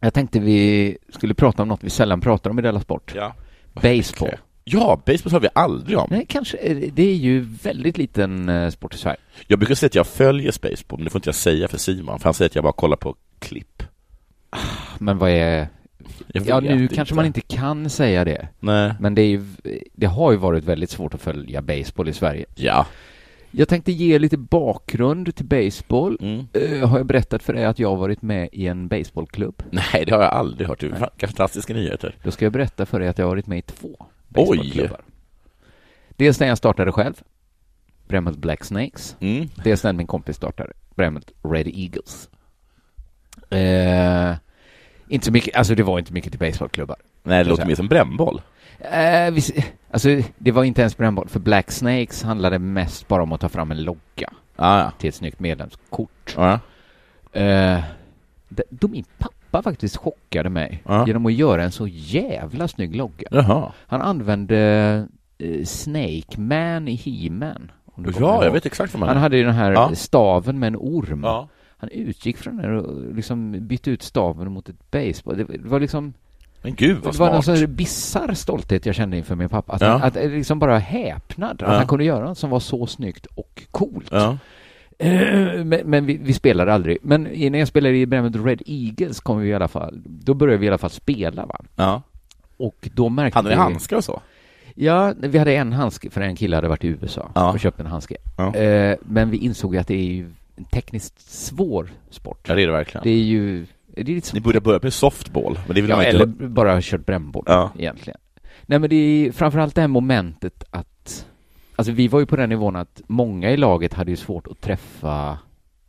Jag tänkte vi skulle prata om något vi sällan pratar om i Della Sport. Ja. Baseball. Okej. Ja, baseball har vi aldrig om. Nej, kanske. är det- Det är ju väldigt liten eh, sport i Sverige. Jag brukar säga att jag följer baseball, men det får inte jag säga för Simon, för han säger att jag bara kollar på klipp. Men vad är... Jag Ja, vet nu kanske man inte kan säga det. Nej. Men det, är ju, det har ju varit väldigt svårt att följa baseball i Sverige. Ja. Jag tänkte ge lite bakgrund till baseball. Mm. Eh, har jag berättat för dig att jag har varit med i en baseballklubb? Nej, det har jag aldrig hört. Det är Fantastiska nyheter. Då ska jag berätta för dig att jag har varit med i två Oj. baseballklubbar. Dels när jag startade själv, Bremmet Black Snakes. Mm. Dels när min kompis startade, Bremmet Red Eagles. Eh, inte så mycket, alltså det var inte mycket till baseballklubbar. Nej, det låter mer som brännboll. Eh, vi, alltså det var inte ens brännboll, för Black Snakes handlade mest bara om att ta fram en logga Ah, ja. till ett snyggt medlemskort. Ja. Eh, d- då min pappa faktiskt chockade mig Ja. genom att göra en så jävla snygg logga. Jaha. Han använde eh, Snake Man i He-Man. om du kommer Ja, jag ihåg. vet exakt vad man Han hade ju den här Ja. staven med en orm. Ja. Han utgick från den och liksom bytte ut staven mot ett baseball. Det var- det var liksom, Men gud det vad var någon smart. sån här bisarr stolthet jag kände inför min pappa. Att, Ja. han, att eh, liksom bara häpnad att Ja. han kunde göra något som var så snyggt och coolt. Ja. Eh, Men, men vi, vi spelade aldrig. Men i- när jag spelade i Bremen Red Eagles kom vi i alla fall, då började vi i alla fall spela va. Ja. Och då märkte Hade ni vi... handskar och så? Ja, vi hade en handske för en kille hade varit i USA Ja. och köpt en handske. Ja. Eh, Men vi insåg ju att det är ju en tekniskt svår sport. Ja, det är det verkligen. Det är ju... Det är lite Ni som, borde börja med softball, men det vill ja, man inte... eller bara kört brännboll Ja. egentligen. Nej men det är framförallt det här momentet att... Alltså vi var ju på den nivån att många i laget hade ju svårt att träffa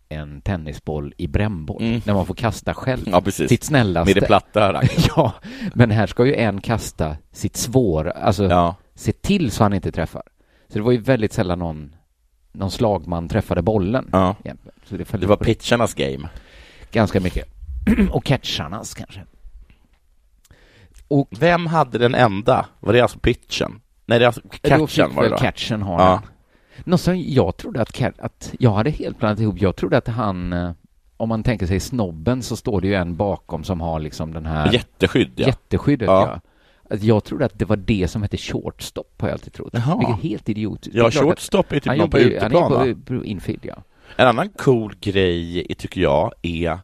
en tennisboll i brännboll, Mm. när man får kasta själv. Ja, precis. Sitt snällaste. Med det platta ranket. ja, men här ska ju en kasta sitt svåra, alltså Ja. se till så han inte träffar. Så det var ju väldigt sällan någon, någon slagman träffade bollen. ja. egentligen. Så det, föll Det var på pitcharnas game. ganska mycket. Och catcharnas kanske. Vem hade den enda? Var det alltså pitchen? Nej, det är alltså Då catchen fick var det väl va? catchen ha Ja. den. Något som jag trodde att, Cat- att jag hade helt blandat ihop. Jag trodde att han, eh, om man tänker sig snobben så står det ju en bakom som har liksom den här Jätteskydd, ja. jätteskyddet. Ja. Ja. Att jag trodde att det var det som hette shortstop har jag alltid trott. Jaha. Vilket är helt idiotiskt. Det Ja, är klart att- shortstop är typ han någon på jobbar ju, han uteplan, är va? ju på, på infield, ja. En annan cool grej, tycker jag, är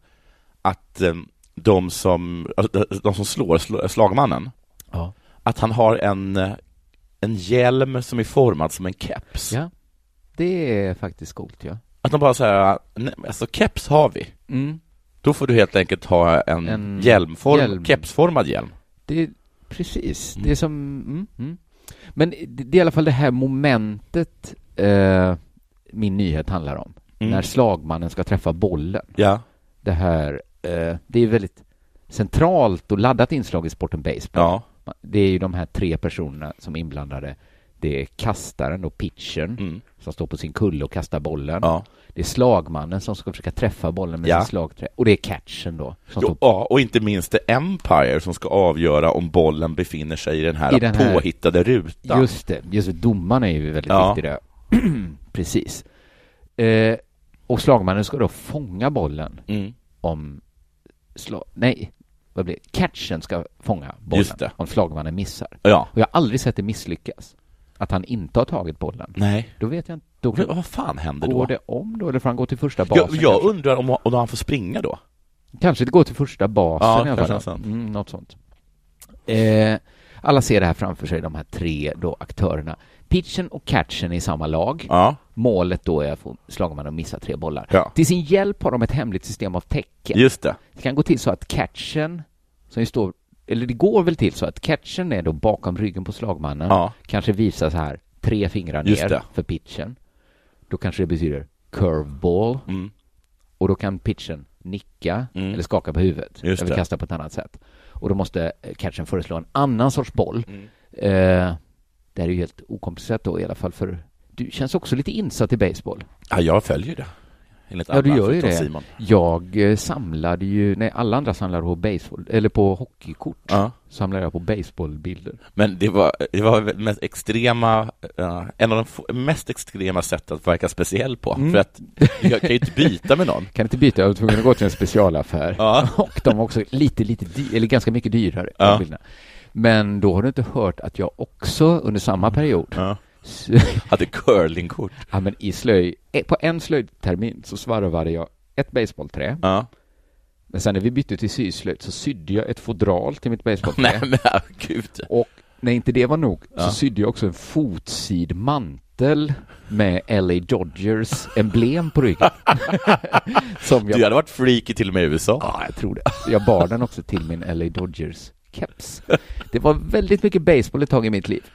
att eh, de som, alltså, de som slår sl- slagmannen, Ja. att han har en, eh, en hjälm som är formad som en keps. Ja. Det är faktiskt coolt, ja. Att de bara säger, nej, men alltså keps har vi. Då får du helt enkelt ha en, En hjälmform, hjälm. kepsformad hjälm. Det är precis, Mm. det är som, mm, mm. Men det, det är i alla fall det här momentet eh, min nyhet handlar om. Mm. När slagmannen ska träffa bollen. Ja. Det här, eh, det är väldigt centralt och laddat inslag i sporten baseball. Ja. Det är ju de här tre personerna som är inblandade. Det är kastaren och pitchen Mm. som står på sin kulle och kastar bollen. Ja. Det är slagmannen som ska försöka träffa bollen med Ja. sin slagträ. Och det är catchen då. Som står Jo, ja, och inte minst The Empire som ska avgöra om bollen befinner sig i den här, I den här- påhittade rutan. Just det, just det. Domaren är ju väldigt Ja. viktig där. Precis. Eh, och slagmannen ska då fånga bollen Mm. om... Sla- Nej, vad blir det? Catchen ska fånga bollen Just det. om slagmannen missar. Ja. Och jag har aldrig sett det misslyckas. att han inte har tagit bollen, Nej. då vet jag inte. Då Men vad fan händer då? går det om då, eller får han gå till första basen? Jag, jag kanske? undrar om, om han får springa då? Kanske det går till första basen Ja, i alla kanske fall. sant. Mm, något sånt. Eh, alla ser det här framför sig, de här tre då aktörerna. Pitchen och catchen är i samma lag. Ja. Målet då är att få slagman att missa tre bollar. Ja. Till sin hjälp har de ett hemligt system av tecken. Just det. Det kan gå till så att catchen, som ju står, eller det går väl till så att catchen är då bakom ryggen på slagmannen, Ja. kanske visar så här tre fingrar Just ner det. för pitchen. Då kanske det betyder curveball Mm. och då kan pitchen nicka Mm. eller skaka på huvudet Just eller det. kasta på ett annat sätt. Och då måste eh, catchen föreslå en annan sorts boll. Mm. Eh, det här är ju helt okomplicerat då i alla fall för du känns också lite insatt i baseball. Ja, jag följer det. Enligt Ja, du alla gör ju förutom det. Simon. Jag eh, samlade ju, nej alla andra samlade på baseball, eller på hockeykort Ja. samlade jag på baseballbilder. Men det var, det var väl mest extrema, eh, en av de få- mest extrema sätt att verka speciell på. Mm. För att jag kan ju inte byta med någon. Kan inte byta, jag var tvungen att gå till en specialaffär. Ja. Och de var också lite, lite dy- eller ganska mycket dyrare. de Ja. bilderna. Men då har du inte hört att jag också under samma period Ja. s- Hade curlingkort. ja, men i slöj, eh, på en slöjdtermin så svarvade jag ett baseballträ. Ja. Men sen när vi bytte till syslöjd så sydde jag ett fodral till mitt Nej baseballträ. men ah, gud. Och när inte det var nog Ja. så sydde jag också en fotsid mantel med LA Dodgers emblem på ryggen. Som jag, Du hade varit freaky till och med i USA. ja, jag tror det. Jag bar den också till min LA Dodgers keps. Det var väldigt mycket baseball ett tag i mitt liv.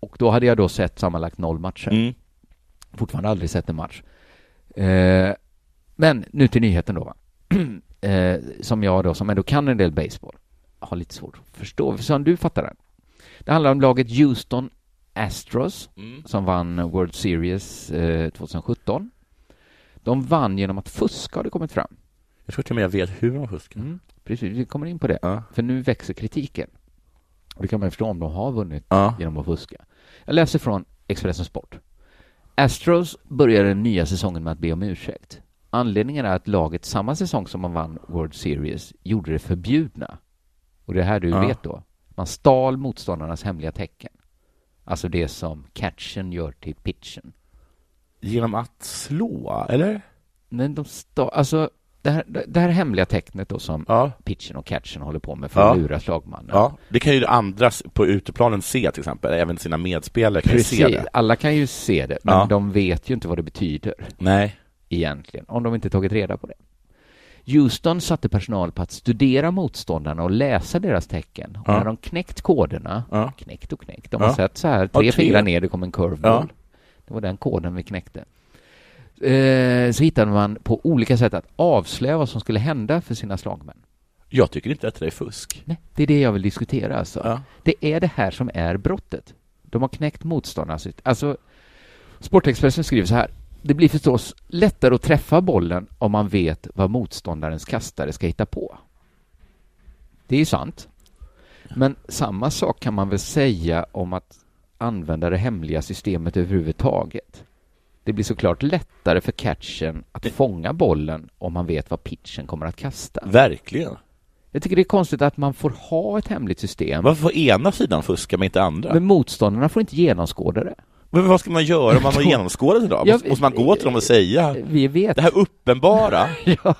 Och då hade jag då sett sammanlagt noll matcher. Mm. Fortfarande aldrig sett en match. Eh, men nu till nyheten då. Va? eh, som jag då, som ändå kan en del baseball har lite svårt att förstå. Så du fattar den. Det handlar om laget Houston Astros Mm. som vann World Series eh, 2017. De vann genom att fuska har det kommit fram. Jag tror till och med jag vet hur de fuskar. Precis, vi kommer in på det. Mm. Ja. För nu växer kritiken. Och det kan man ju förstå om de har vunnit Ja. genom att fuska. Jag läser från Expressen Sport. Astros börjar den nya säsongen med att be om ursäkt. Anledningen är att laget samma säsong som man vann World Series gjorde det förbjudna. Och det är här du Ja. vet då. Man stal motståndarnas hemliga tecken. Alltså det som catchen gör till pitchen. Genom att slå, eller? Men de stal, alltså det här, det här hemliga tecknet då som Ja. pitchen och catchen håller på med för att Ja. lura slagmannen. ja. Det kan ju andra s- på uteplanen se till exempel. Även sina medspelare kan ju se Precis, det. alla kan ju se det, men Ja. de vet ju inte vad det betyder. Nej. egentligen, om de inte tagit reda på det. Houston satte personal på att studera motståndarna och läsa deras tecken. Och Ja. när de knäckt koderna, Ja. knäckt och knäckt, de Ja. har sett så här, tre tre. fingrar ner, det kom en curveball. Ja. Det var den koden vi knäckte. Eh, så hittade man på olika sätt att avslöja vad som skulle hända för sina slagmän. Jag tycker inte att det är fusk. Nej, det är det jag vill diskutera alltså. Ja. Det är det här som är brottet. De har knäckt motståndarna. sitt- Alltså, Sportexpressen skriver så här. Det blir förstås lättare att träffa bollen om man vet vad motståndarens kastare ska hitta på. Det är ju sant. Men samma sak kan man väl säga om att använda det hemliga systemet överhuvudtaget. Det blir såklart lättare för catchen att fånga bollen om man vet vad pitchen kommer att kasta. Verkligen. Jag tycker det är konstigt att man får ha ett hemligt system Varför får ena sidan fuska men inte andra? men motståndarna får inte genomskåda det. Men vad ska man göra om man har genomskådat idag? Jag- Måste, måste man gå till dem och säga Vi vet. det här uppenbara? Ja.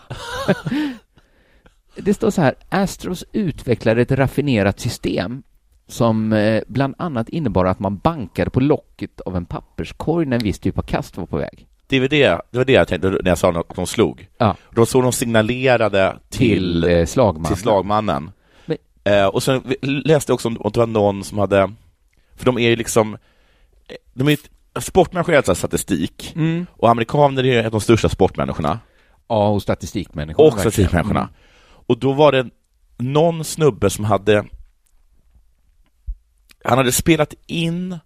det står så här. Astros utvecklade ett raffinerat system som eh, bland annat innebar att man bankade på locket av en papperskorg när en viss typ av kast var på väg. Det var det, det var det jag tänkte när jag sa att de slog. Ja. Då såg de signalerade Till, till, eh, slagmannen. till slagmannen. Men- Eh, och sen vi- läste jag också om om det var någon som hade, för de är ju liksom, eh, de är ju, sportmänniskor är alltså statistik, och amerikaner är ju de största sportmänniskorna, Ja, och statistikmänniskorna. och verkligen. statistikmänniskorna. Mm. Och då var det någon snubbe som hade, han hade spelat in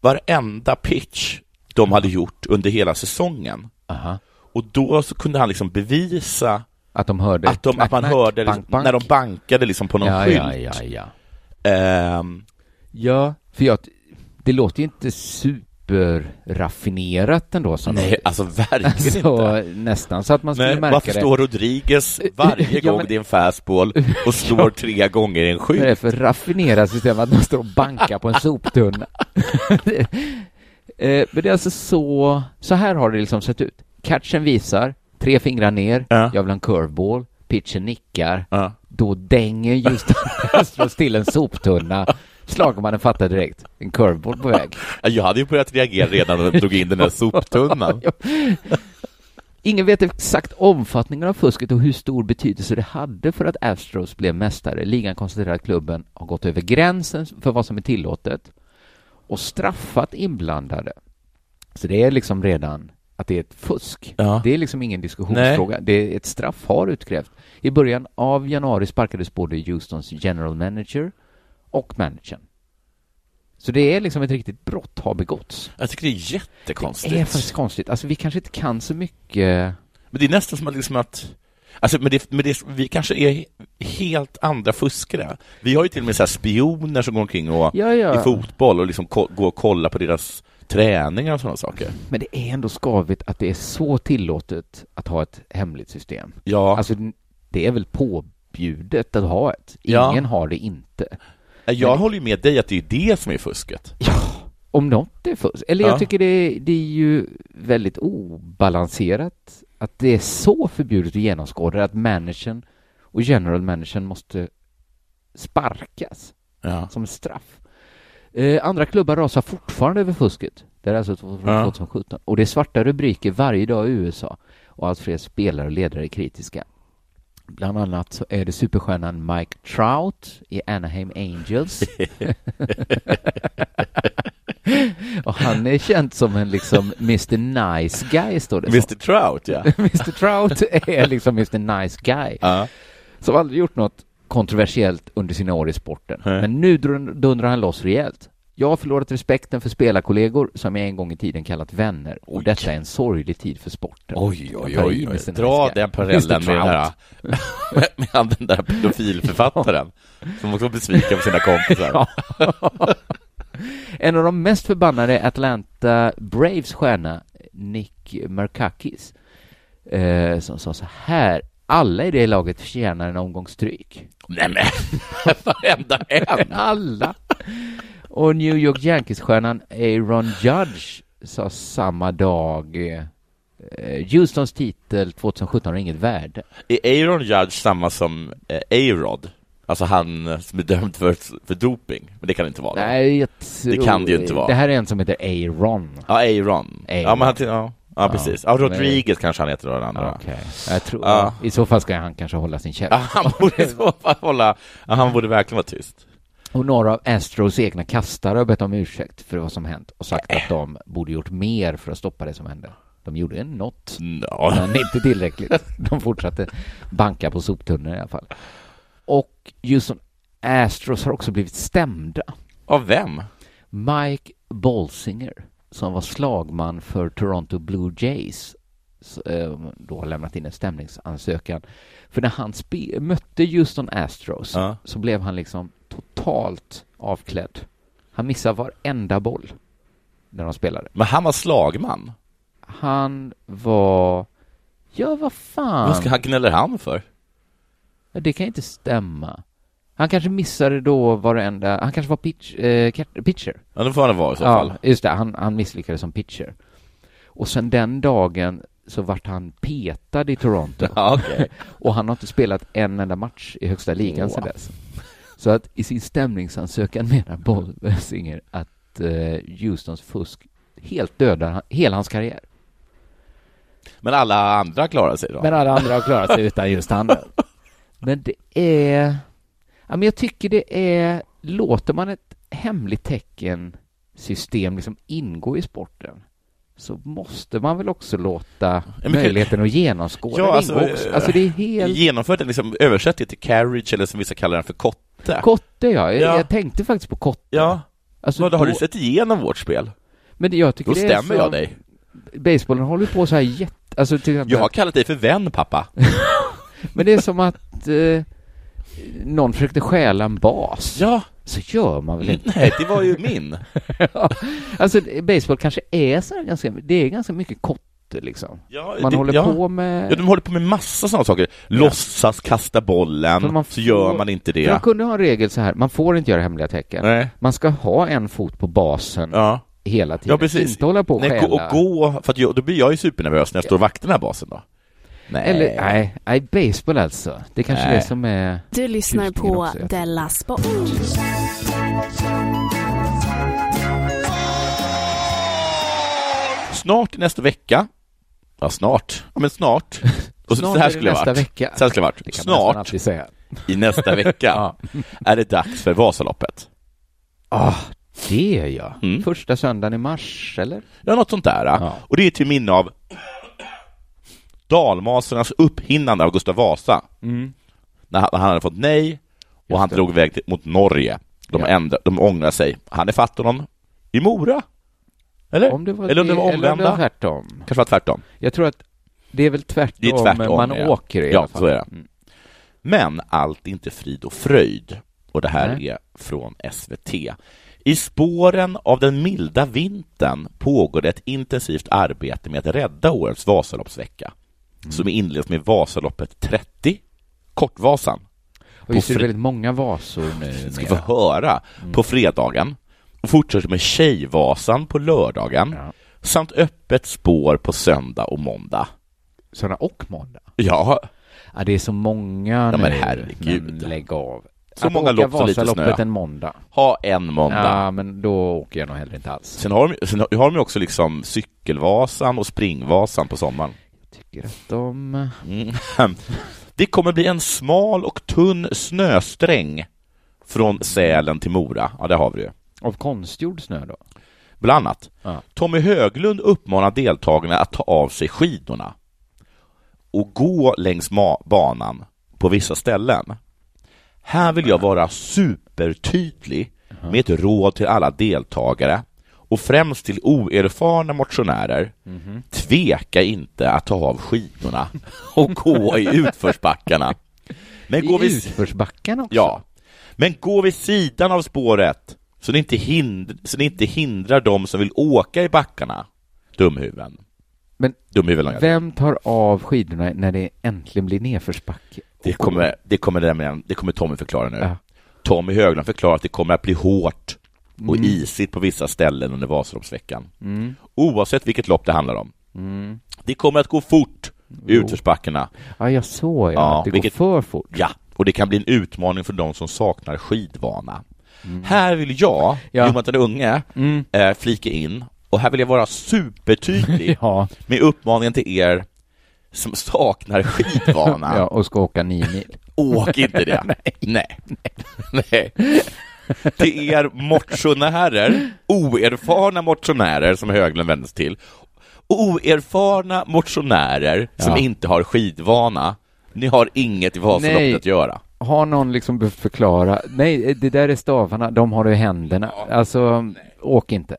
varenda pitch de hade gjort under hela säsongen. Aha. Och då så kunde han liksom bevisa Att de hörde... att, de, att man knack, hörde liksom, bank, bank. när de bankade liksom på någon ja, skylt. ja, ja, ja. Ehm, Ja, för jag... Det låter ju inte super... superraffinerat ändå som Nej, alltså verkligen inte. alltså, nästan så att man skulle Nej, märka varför står Rodriguez varje Ja, gång men- det är en fastball och slår tre gånger i en det. Vad är det skydd? för raffinerat system att man står och bankar på en soptunna? Det- eh, Men det är alltså så, så här har det liksom sett ut. Catchen visar, tre fingrar ner, Ja. jag vill ha en curveball, pitchen nickar, Ja. då dänger just slås till en soptunna, slagmannen fattar direkt, en curveball på väg. Jag hade ju börjat reagera redan när jag drog in den där soptunnan. Ingen vet exakt omfattningen av fusket och hur stor betydelse det hade för att Astros blev mästare. Ligan konstaterar att klubben har gått över gränsen för vad som är tillåtet och straffat inblandade. Så det är liksom redan att det är ett fusk. Ja. Det är liksom ingen diskussionsfråga. Det är ett straff har utkrävts. I början av januari sparkades både Houstons general manager och managern. Så det är liksom ett riktigt brott har begåtts. Jag tycker det är Det är jättekonstigt. faktiskt konstigt. Alltså vi kanske inte kan så mycket Men det är nästan som att, liksom att Alltså, men det, men det, vi kanske är helt andra fuskare. Vi har ju till och med så här spioner som går omkring och, Ja, ja. i fotboll och liksom ko- går och kollar på deras träningar och sådana saker. Men det är ändå skavigt att det är så tillåtet att ha ett hemligt system. Ja, Alltså, det är väl påbjudet att ha ett? Ja. Ingen har det inte. jag håller ju med dig att det är det som är fusket. Om något är fusk. Eller Ja. jag tycker det, det är ju väldigt obalanserat att det är så förbjudet att genomskåda att managern och general managern måste sparkas. Ja. som straff. Eh, andra klubbar rasar fortfarande över fusket. Det är alltså från Ja. 2017. Och det är svarta rubriker varje dag i USA. Och allt fler spelare och ledare är kritiska. Bland annat så är det superstjärnan Mike Trout i Anaheim Angels. och han är känd som en liksom Mr Nice Guy, står det så. Mr Trout, ja. Mr Trout är liksom Mr Nice Guy ja. som aldrig gjort något kontroversiellt under sina år i sporten. Nej. Men nu drun- dundrar han loss rejält. Jag har förlorat respekten för spelarkollegor som jag en gång i tiden kallat vänner och Oj. detta är en sorglig tid för sporten. Oj, oj, Jag tar oj, i oj. med sina Dra älskar. den parallellen Mr. med, den här, med, med han den där pedofilförfattaren som också var besviken på sina kompisar. Ja. en av de mest förbannade är Atlanta Braves stjärna Nick Merkakis eh, som sa så här. Alla i det laget förtjänar en omgång stryk. Nej men, varenda en! Alla! Och New York Yankees-stjärnan Aaron Judge sa samma dag eh, Houstons titel 2017 har inget värde. Är Aaron Judge samma som eh, A-Rod? Alltså han eh, som är dömd för, för doping? Men det kan det inte vara. Nej, jag tror, Det kan det ju inte vara. Det här är en som heter Aaron. Ja, Aaron. Aaron. Ja, men han, ja, ja, Ja. precis. Ja, Rodriguez kanske han heter då, den andra. Okej. Jag tror, Ja. I så fall ska han kanske hålla sin käft. Ja, han borde i så fall hålla, ja, han borde verkligen vara tyst. Och några av Astros egna kastare har bett om ursäkt för vad som hänt och sagt att de borde gjort mer för att stoppa det som hände. De gjorde något. No. men inte tillräckligt. De fortsatte banka på soptunnor i alla fall. Och Houston Astros har också blivit stämda. Av vem? Mike Bolsinger, som var slagman för Toronto Blue Jays, s- eh, då har lämnat in en stämningsansökan. För när han spe- mötte Houston Astros Ja. så blev han liksom totalt avklädd. Han missade varenda boll när de spelade. Men han var slagman. Han var... Ja, vad fan? Vad ska han gnäller han för? Ja, Det kan inte stämma. Han kanske missade då varenda, han kanske var pitch, eh, cat- pitcher. Ja, det får han vara i så fall. Ja, just det, han, han misslyckades som pitcher. Och sen den dagen så vart han petad i Toronto Ja, okej. och han har inte spelat en enda match i högsta ligan sedan Wow. dess. Så att i sin stämningsansökan menar Bolsinger att eh, Houstons fusk helt dödar han- hela hans karriär. Men alla andra klarar sig då? Men alla andra har klarat sig utan just handen. Men det är... Ja, men jag tycker det är... Låter man ett hemligt teckensystem liksom ingå i sporten så måste man väl också låta men- möjligheten att genomskåda Ja, det alltså, ingå också. Alltså det är helt... Genomfört den, liksom, översätt det till carriage, eller som vissa kallar den för kotte. Kotte, ja. Jag, Ja. jag tänkte faktiskt på kotte. ja, Alltså, vad, har då- du sett igenom vårt spel? Men det- jag tycker Då det är stämmer så- jag dig. Basebollen håller på så här jätte... Alltså till exempel... Jag har kallat dig för vän, pappa. Men det är som att eh, någon försökte stjäla en bas. Ja, så gör man väl inte. Nej, det var ju min. alltså, baseball kanske är så här ganska, det är ganska mycket kotte liksom. Ja, Man det, håller ja. på med... Ja, de håller på med massa sådana saker. Låtsas kasta För bollen, man så gör får- man inte För De det. kunde ha en regel så här, man får inte göra hemliga tecken. Nej. Man ska ha en fot på basen Ja. hela tiden. ja, precis. Inte hålla på och Nej, stjäla. gå, och gå, för att jag, då blir jag ju supernervös när jag står och vaktar den här basen då. Nej. Eller, nej, nej, baseball alltså. Det är kanske Nej. det som är... Du lyssnar Tjusningen på också, jag tror. Della Sport. Snart i nästa vecka. Ja, snart. Ja, men snart. Och så, Snart så här är det skulle jag nästa varit. vecka. Så här skulle jag varit. Det kan man nästan Snart alltid säga. i nästa vecka är det dags för Vasaloppet. Ah, det är jag. Mm. Första söndagen i mars, eller? Ja, något sånt där. Ja. Och det är till minne av dalmasernas upphinnande av Gustav Vasa. Mm. När han, när han hade fått nej och Just han det. drog iväg till, mot Norge. De, Ja. ändra, de ångrar sig. Han är fatt honom i Mora. Eller? Om det var eller om det var eller om det omvända? var tvärtom. Kanske var tvärtom. Jag tror att det är väl tvärtom, Det är tvärtom, man ja. åker i Ja, alla fall. så är det. Mm. Men allt är inte frid och fröjd. Och det här Nej. är från SVT. I spåren av den milda vintern pågår det ett intensivt arbete med att rädda årets Vasaloppsvecka, Mm. som inleds med Vasaloppet 30, Kortvasan. Och just är det fri- väldigt många vasor nu. Vi ska med. Mm. få höra på fredagen och fortsätter med Tjejvasan på lördagen Ja. samt öppet spår på söndag och måndag. Söndag och måndag. Ja, Ja, det är så många Ja, nu. men herregud. Men lägg av. Så att många åka lopp, så lite Vasaloppet snö. en måndag. ha en måndag. Ja, men då åker jag nog hellre inte alls. Sen har de, sen har de ju också liksom cykelvasan och springvasan på sommaren. Tycker att de... Det kommer bli en smal och tunn snösträng från Sälen till Mora. Ja, det har vi ju. Av konstgjord snö då? Bland annat. Ja. Tommy Höglund uppmanar deltagarna att ta av sig skidorna och gå längs ma- banan på vissa ställen. Här vill jag vara supertydlig med ett råd till alla deltagare och främst till oerfarna motionärer. Mhm. Tveka inte att ta av skidorna och gå i utförsbackarna. Men I gå vid, utförsbacken också? ja, men gå vid sidan av spåret så det inte, hind- så det inte hindrar de som vill åka i backarna. Dumhuvuden. Men Dumhuvuden långa. Vem tar av skidorna när det äntligen blir nedförsbacke? Det kommer, det, kommer nämligen, det kommer Tommy förklara nu. Ja. Tommy Höglund förklarar att det kommer att bli hårt Mm. och isigt på vissa ställen under Vasaloppsveckan. Oavsett vilket lopp det handlar om. Mm. Det kommer att gå fort i utförsbackarna. Ja, jag såg ja. Ja, att det vilket- går för fort. Ja, och det kan bli en utmaning för de som saknar skidvana. Här vill jag, Mm. Ja. Mm. Jonathan Unge, eh, flika in och här vill jag vara supertydlig Ja, med uppmaningen till er som saknar skidvana. ja, och ska åka nio mil. Åk inte det. Nej. Nej. Till er motionärer, oerfarna motionärer som Höglund vänder sig till, oerfarna motionärer som Ja. inte har skidvana, ni har inget i Nej. Vasaloppet att göra. Har någon liksom behövt förklara? Nej, det där är stavarna, de har du i händerna. Alltså, åk inte.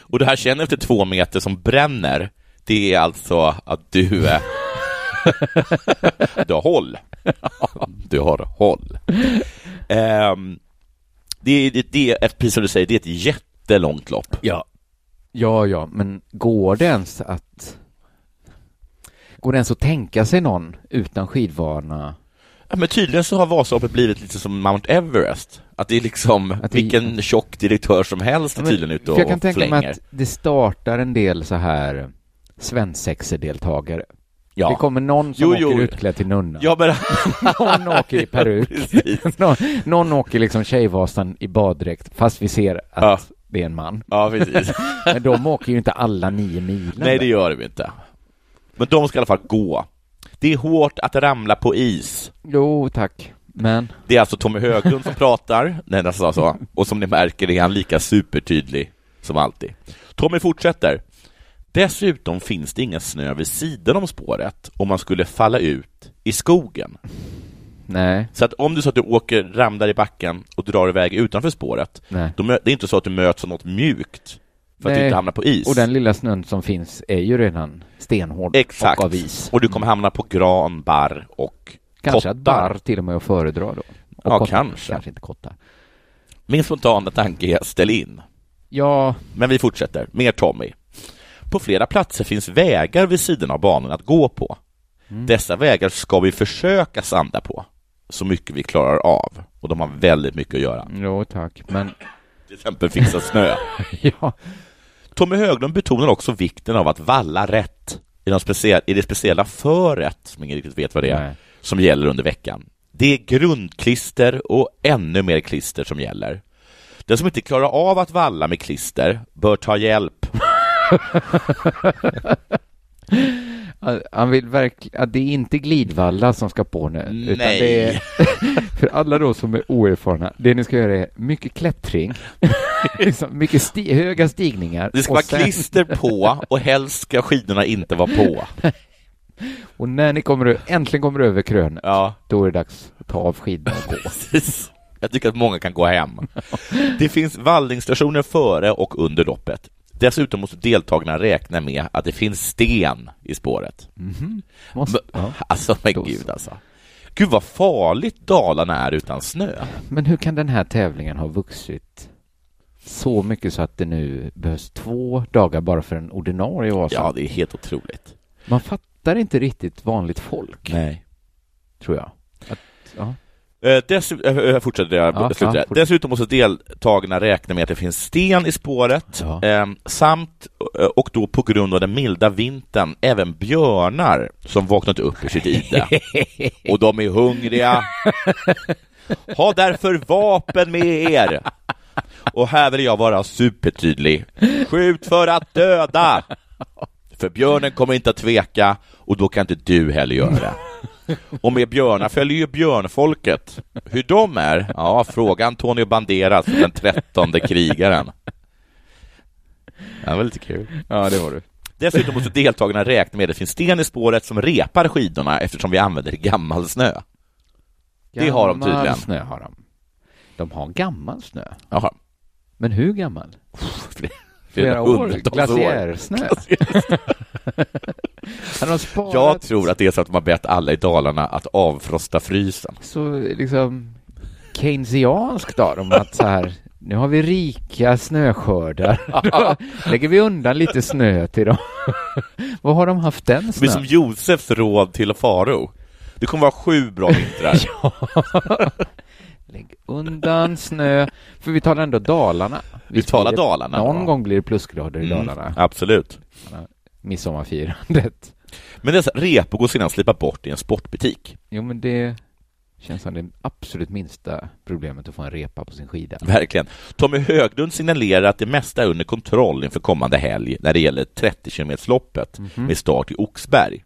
Och det här känner efter två meter som bränner, det är alltså att du är... du har håll. Du har håll. Ehm, det, är, det, det är, ett- precis som du säger, det är ett jättelångt lopp. Ja. Ja, ja, men går det ens att... Går det ens att tänka sig någon utan skidvana? Ja, men tydligen så har Vasaloppet blivit lite som Mount Everest. Att det är liksom Att det- vilken tjock direktör som helst är Ja, men- tydligen ute för och jag kan tänka mig flänger. att det startar en del så här svensexer-deltagare. ja. Det kommer någon som Jo, åker jo. utklädd till nunna. ja, men... Någon åker i peruk. Precis. någon, någon åker liksom Tjejvasan i baddräkt, fast vi ser att Ja. det är en man. Ja, precis. Men de åker ju inte alla nio milen. Nej, det gör de inte. Men de ska i alla fall gå. Det är hårt att ramla på is. Jo, tack. Men Det är alltså Tommy Höglund som pratar, nej, den sa så. och som ni märker är han lika supertydlig som alltid. Tommy fortsätter. Dessutom finns det ingen snö vid sidan om spåret om man skulle falla ut i skogen. nej, Så att om du så att du åker, ramlar i backen och drar iväg utanför spåret, nej. då mö- det är inte så att du möts av något mjukt för att Nej. du inte hamnar på is. Och den lilla snön som finns är ju redan stenhård Exakt. och av is. Och du kommer hamna på gran, barr och Kanske att kottar. barr till och med att föredra då. Och Ja, Kotta. kanske. Kanske inte Kotta. Min spontana tanke är ställ in. Ja, Men vi fortsätter. Mer Tommy. På flera platser finns vägar vid sidan av banan att gå på. Mm. Dessa vägar ska vi försöka sanda på så mycket vi klarar av. Och de har väldigt mycket att göra. jo tack, men Till exempel fixa snö. ja. Tommy Höglund betonar också vikten av att valla rätt i, de specie- i det speciella föret, som ingen riktigt vet vad det är, Nej. som gäller under veckan. Det är grundklister och ännu mer klister som gäller. Den som inte klarar av att valla med klister bör ta hjälp. Han- Han vill verkligen, att det är inte glidvalla som ska på nu. Utan Nej. det är, för alla då som är oerfarna, det ni ska göra är mycket klättring, liksom mycket sti, höga stigningar. Det ska och vara sen- klister på och helst ska skidorna inte vara på. Och när ni kommer, ö- äntligen kommer över krön, Ja, då är det dags att ta av skidorna och gå. precis. Jag tycker att många kan gå hem. Det finns vallningsstationer före och under loppet. Dessutom måste deltagarna räkna med att det finns sten i spåret. Mhm. Måste, Men- ja. Alltså, men Då så. gud alltså. Gud vad farligt Dalarna är utan snö. Men hur kan den här tävlingen ha vuxit så mycket så att det nu behövs två dagar bara för en ordinarie Vasa? Ja, det är helt otroligt. Man fattar inte riktigt vanligt folk, Nej. tror jag. Att, ja. Eh, Dessutom, eh, eh, fortsätter jag, Ja, slutar ja, jag. fortsätt. Dessutom måste deltagarna räkna med att det finns sten i spåret Ja. eh, samt, eh, och då på grund av den milda vintern, även björnar som vaknat upp ur sitt ide. och de är hungriga. Ha därför vapen med er! Och här vill jag vara supertydlig. Skjut för att döda! För björnen kommer inte att tveka och då kan inte du heller göra det. Och med björnar följer ju björnfolket. Hur de är? Ja, fråga Antonio Banderas, den trettonde krigaren. Det var lite kul. ja, det var du. Dessutom måste deltagarna räkna med att det finns sten i spåret som repar skidorna eftersom vi använder gammal snö. Det har de Gammal tydligen. snö har de. De har gammal snö. Jaha. Men hur gammal? Flera, flera hundratals år. Glaciärsnö. Hade de sparat Jag tror att det är så att de har bett alla i Dalarna att avfrosta frysen. så liksom keynesianskt av dem att så här nu har vi rika snöskördar. Då lägger vi undan lite snö till dem. Vad har de haft den Det blir som snön? Josefs råd till Faro. Det kommer vara sju bra vintrar. Lägg undan snö. För vi talar ändå Dalarna. Vi talar skriver- Dalarna. Någon Ja. gång blir det plusgrader i Dalarna. Mm, absolut. Midsommarfirandet. Men dessa repor går sedan att slipa bort i en sportbutik. Jo, men det känns som det absolut minsta problemet att få en repa på sin skida. Verkligen. Tommy Höglund signalerar att det mesta är under kontroll inför kommande helg när det gäller 30 kilometersloppet Mhm. med start i Oxberg.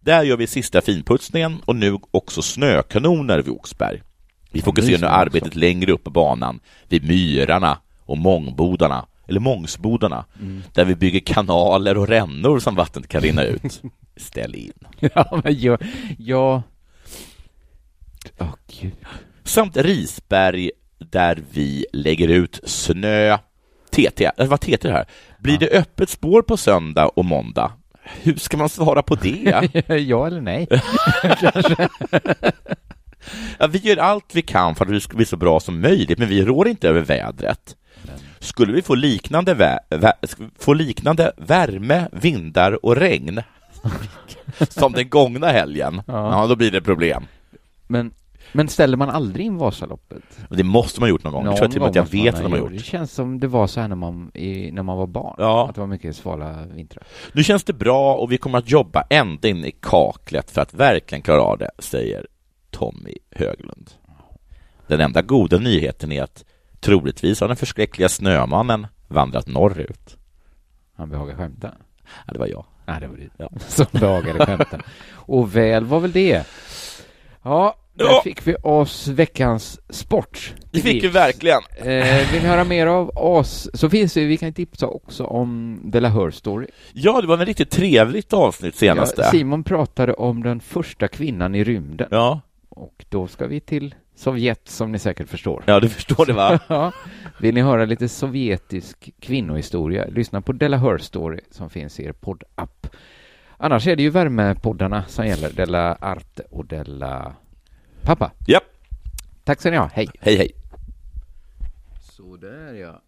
Där gör vi sista finputsningen och nu också snökanoner vid Oxberg. Vi fokuserar nu snö arbetet också. längre upp på banan, vid Myrarna och Mångbodarna, eller Mångsbodarna, Mm. där vi bygger kanaler och rännor som vattnet kan rinna ut. Ställ in. ja, men jag... jag... Åh, gud. samt Risberg där vi lägger ut snö. äh, TT, det var TT det här. Blir det öppet spår på söndag och måndag? Hur ska man svara på det? ja eller nej? Ja, vi gör allt vi kan för att det ska bli så bra som möjligt, men vi rår inte över vädret. Skulle vi få liknande, vä- vä- få liknande värme, vindar och regn som den gångna helgen, ja. då blir det problem. Men, men ställer man aldrig in Vasaloppet? Och Det måste man ha gjort någon gång. det tror jag till och med att jag måste man vet ha att de har Det gjort. känns som det var så här när man, i, när man var barn. Ja. Att det var mycket svala vintrar. Nu känns det bra och vi kommer att jobba ända in i kaklet för att verkligen klara av det, säger Tommy Höglund. Den enda goda nyheten är att troligtvis har den förskräckliga snömannen vandrat norrut. Han behagade skämta. Ja, det var jag. Nej, det var det. Ja. Som behagade skämta. Och väl var väl det. Ja, där Ja. fick vi oss veckans sport. Det fick ju verkligen. Eh, vill ni höra mer av oss så finns det, vi kan tipsa också om De La Hör Story. Ja, det var en riktigt trevligt avsnitt Ja, senaste. Simon pratade om den första kvinnan i rymden Ja, och då ska vi till Sovjet som ni säkert förstår. ja du förstår det va? Ja. Vill ni höra lite sovjetisk kvinnohistoria? Lyssna på De La Hör Story som finns i er poddapp. Annars är det ju värmepoddarna som gäller, Della Arte och Della Pappa. Japp. Tack ska ni ha, hej! Hej, hej! Sådär ja.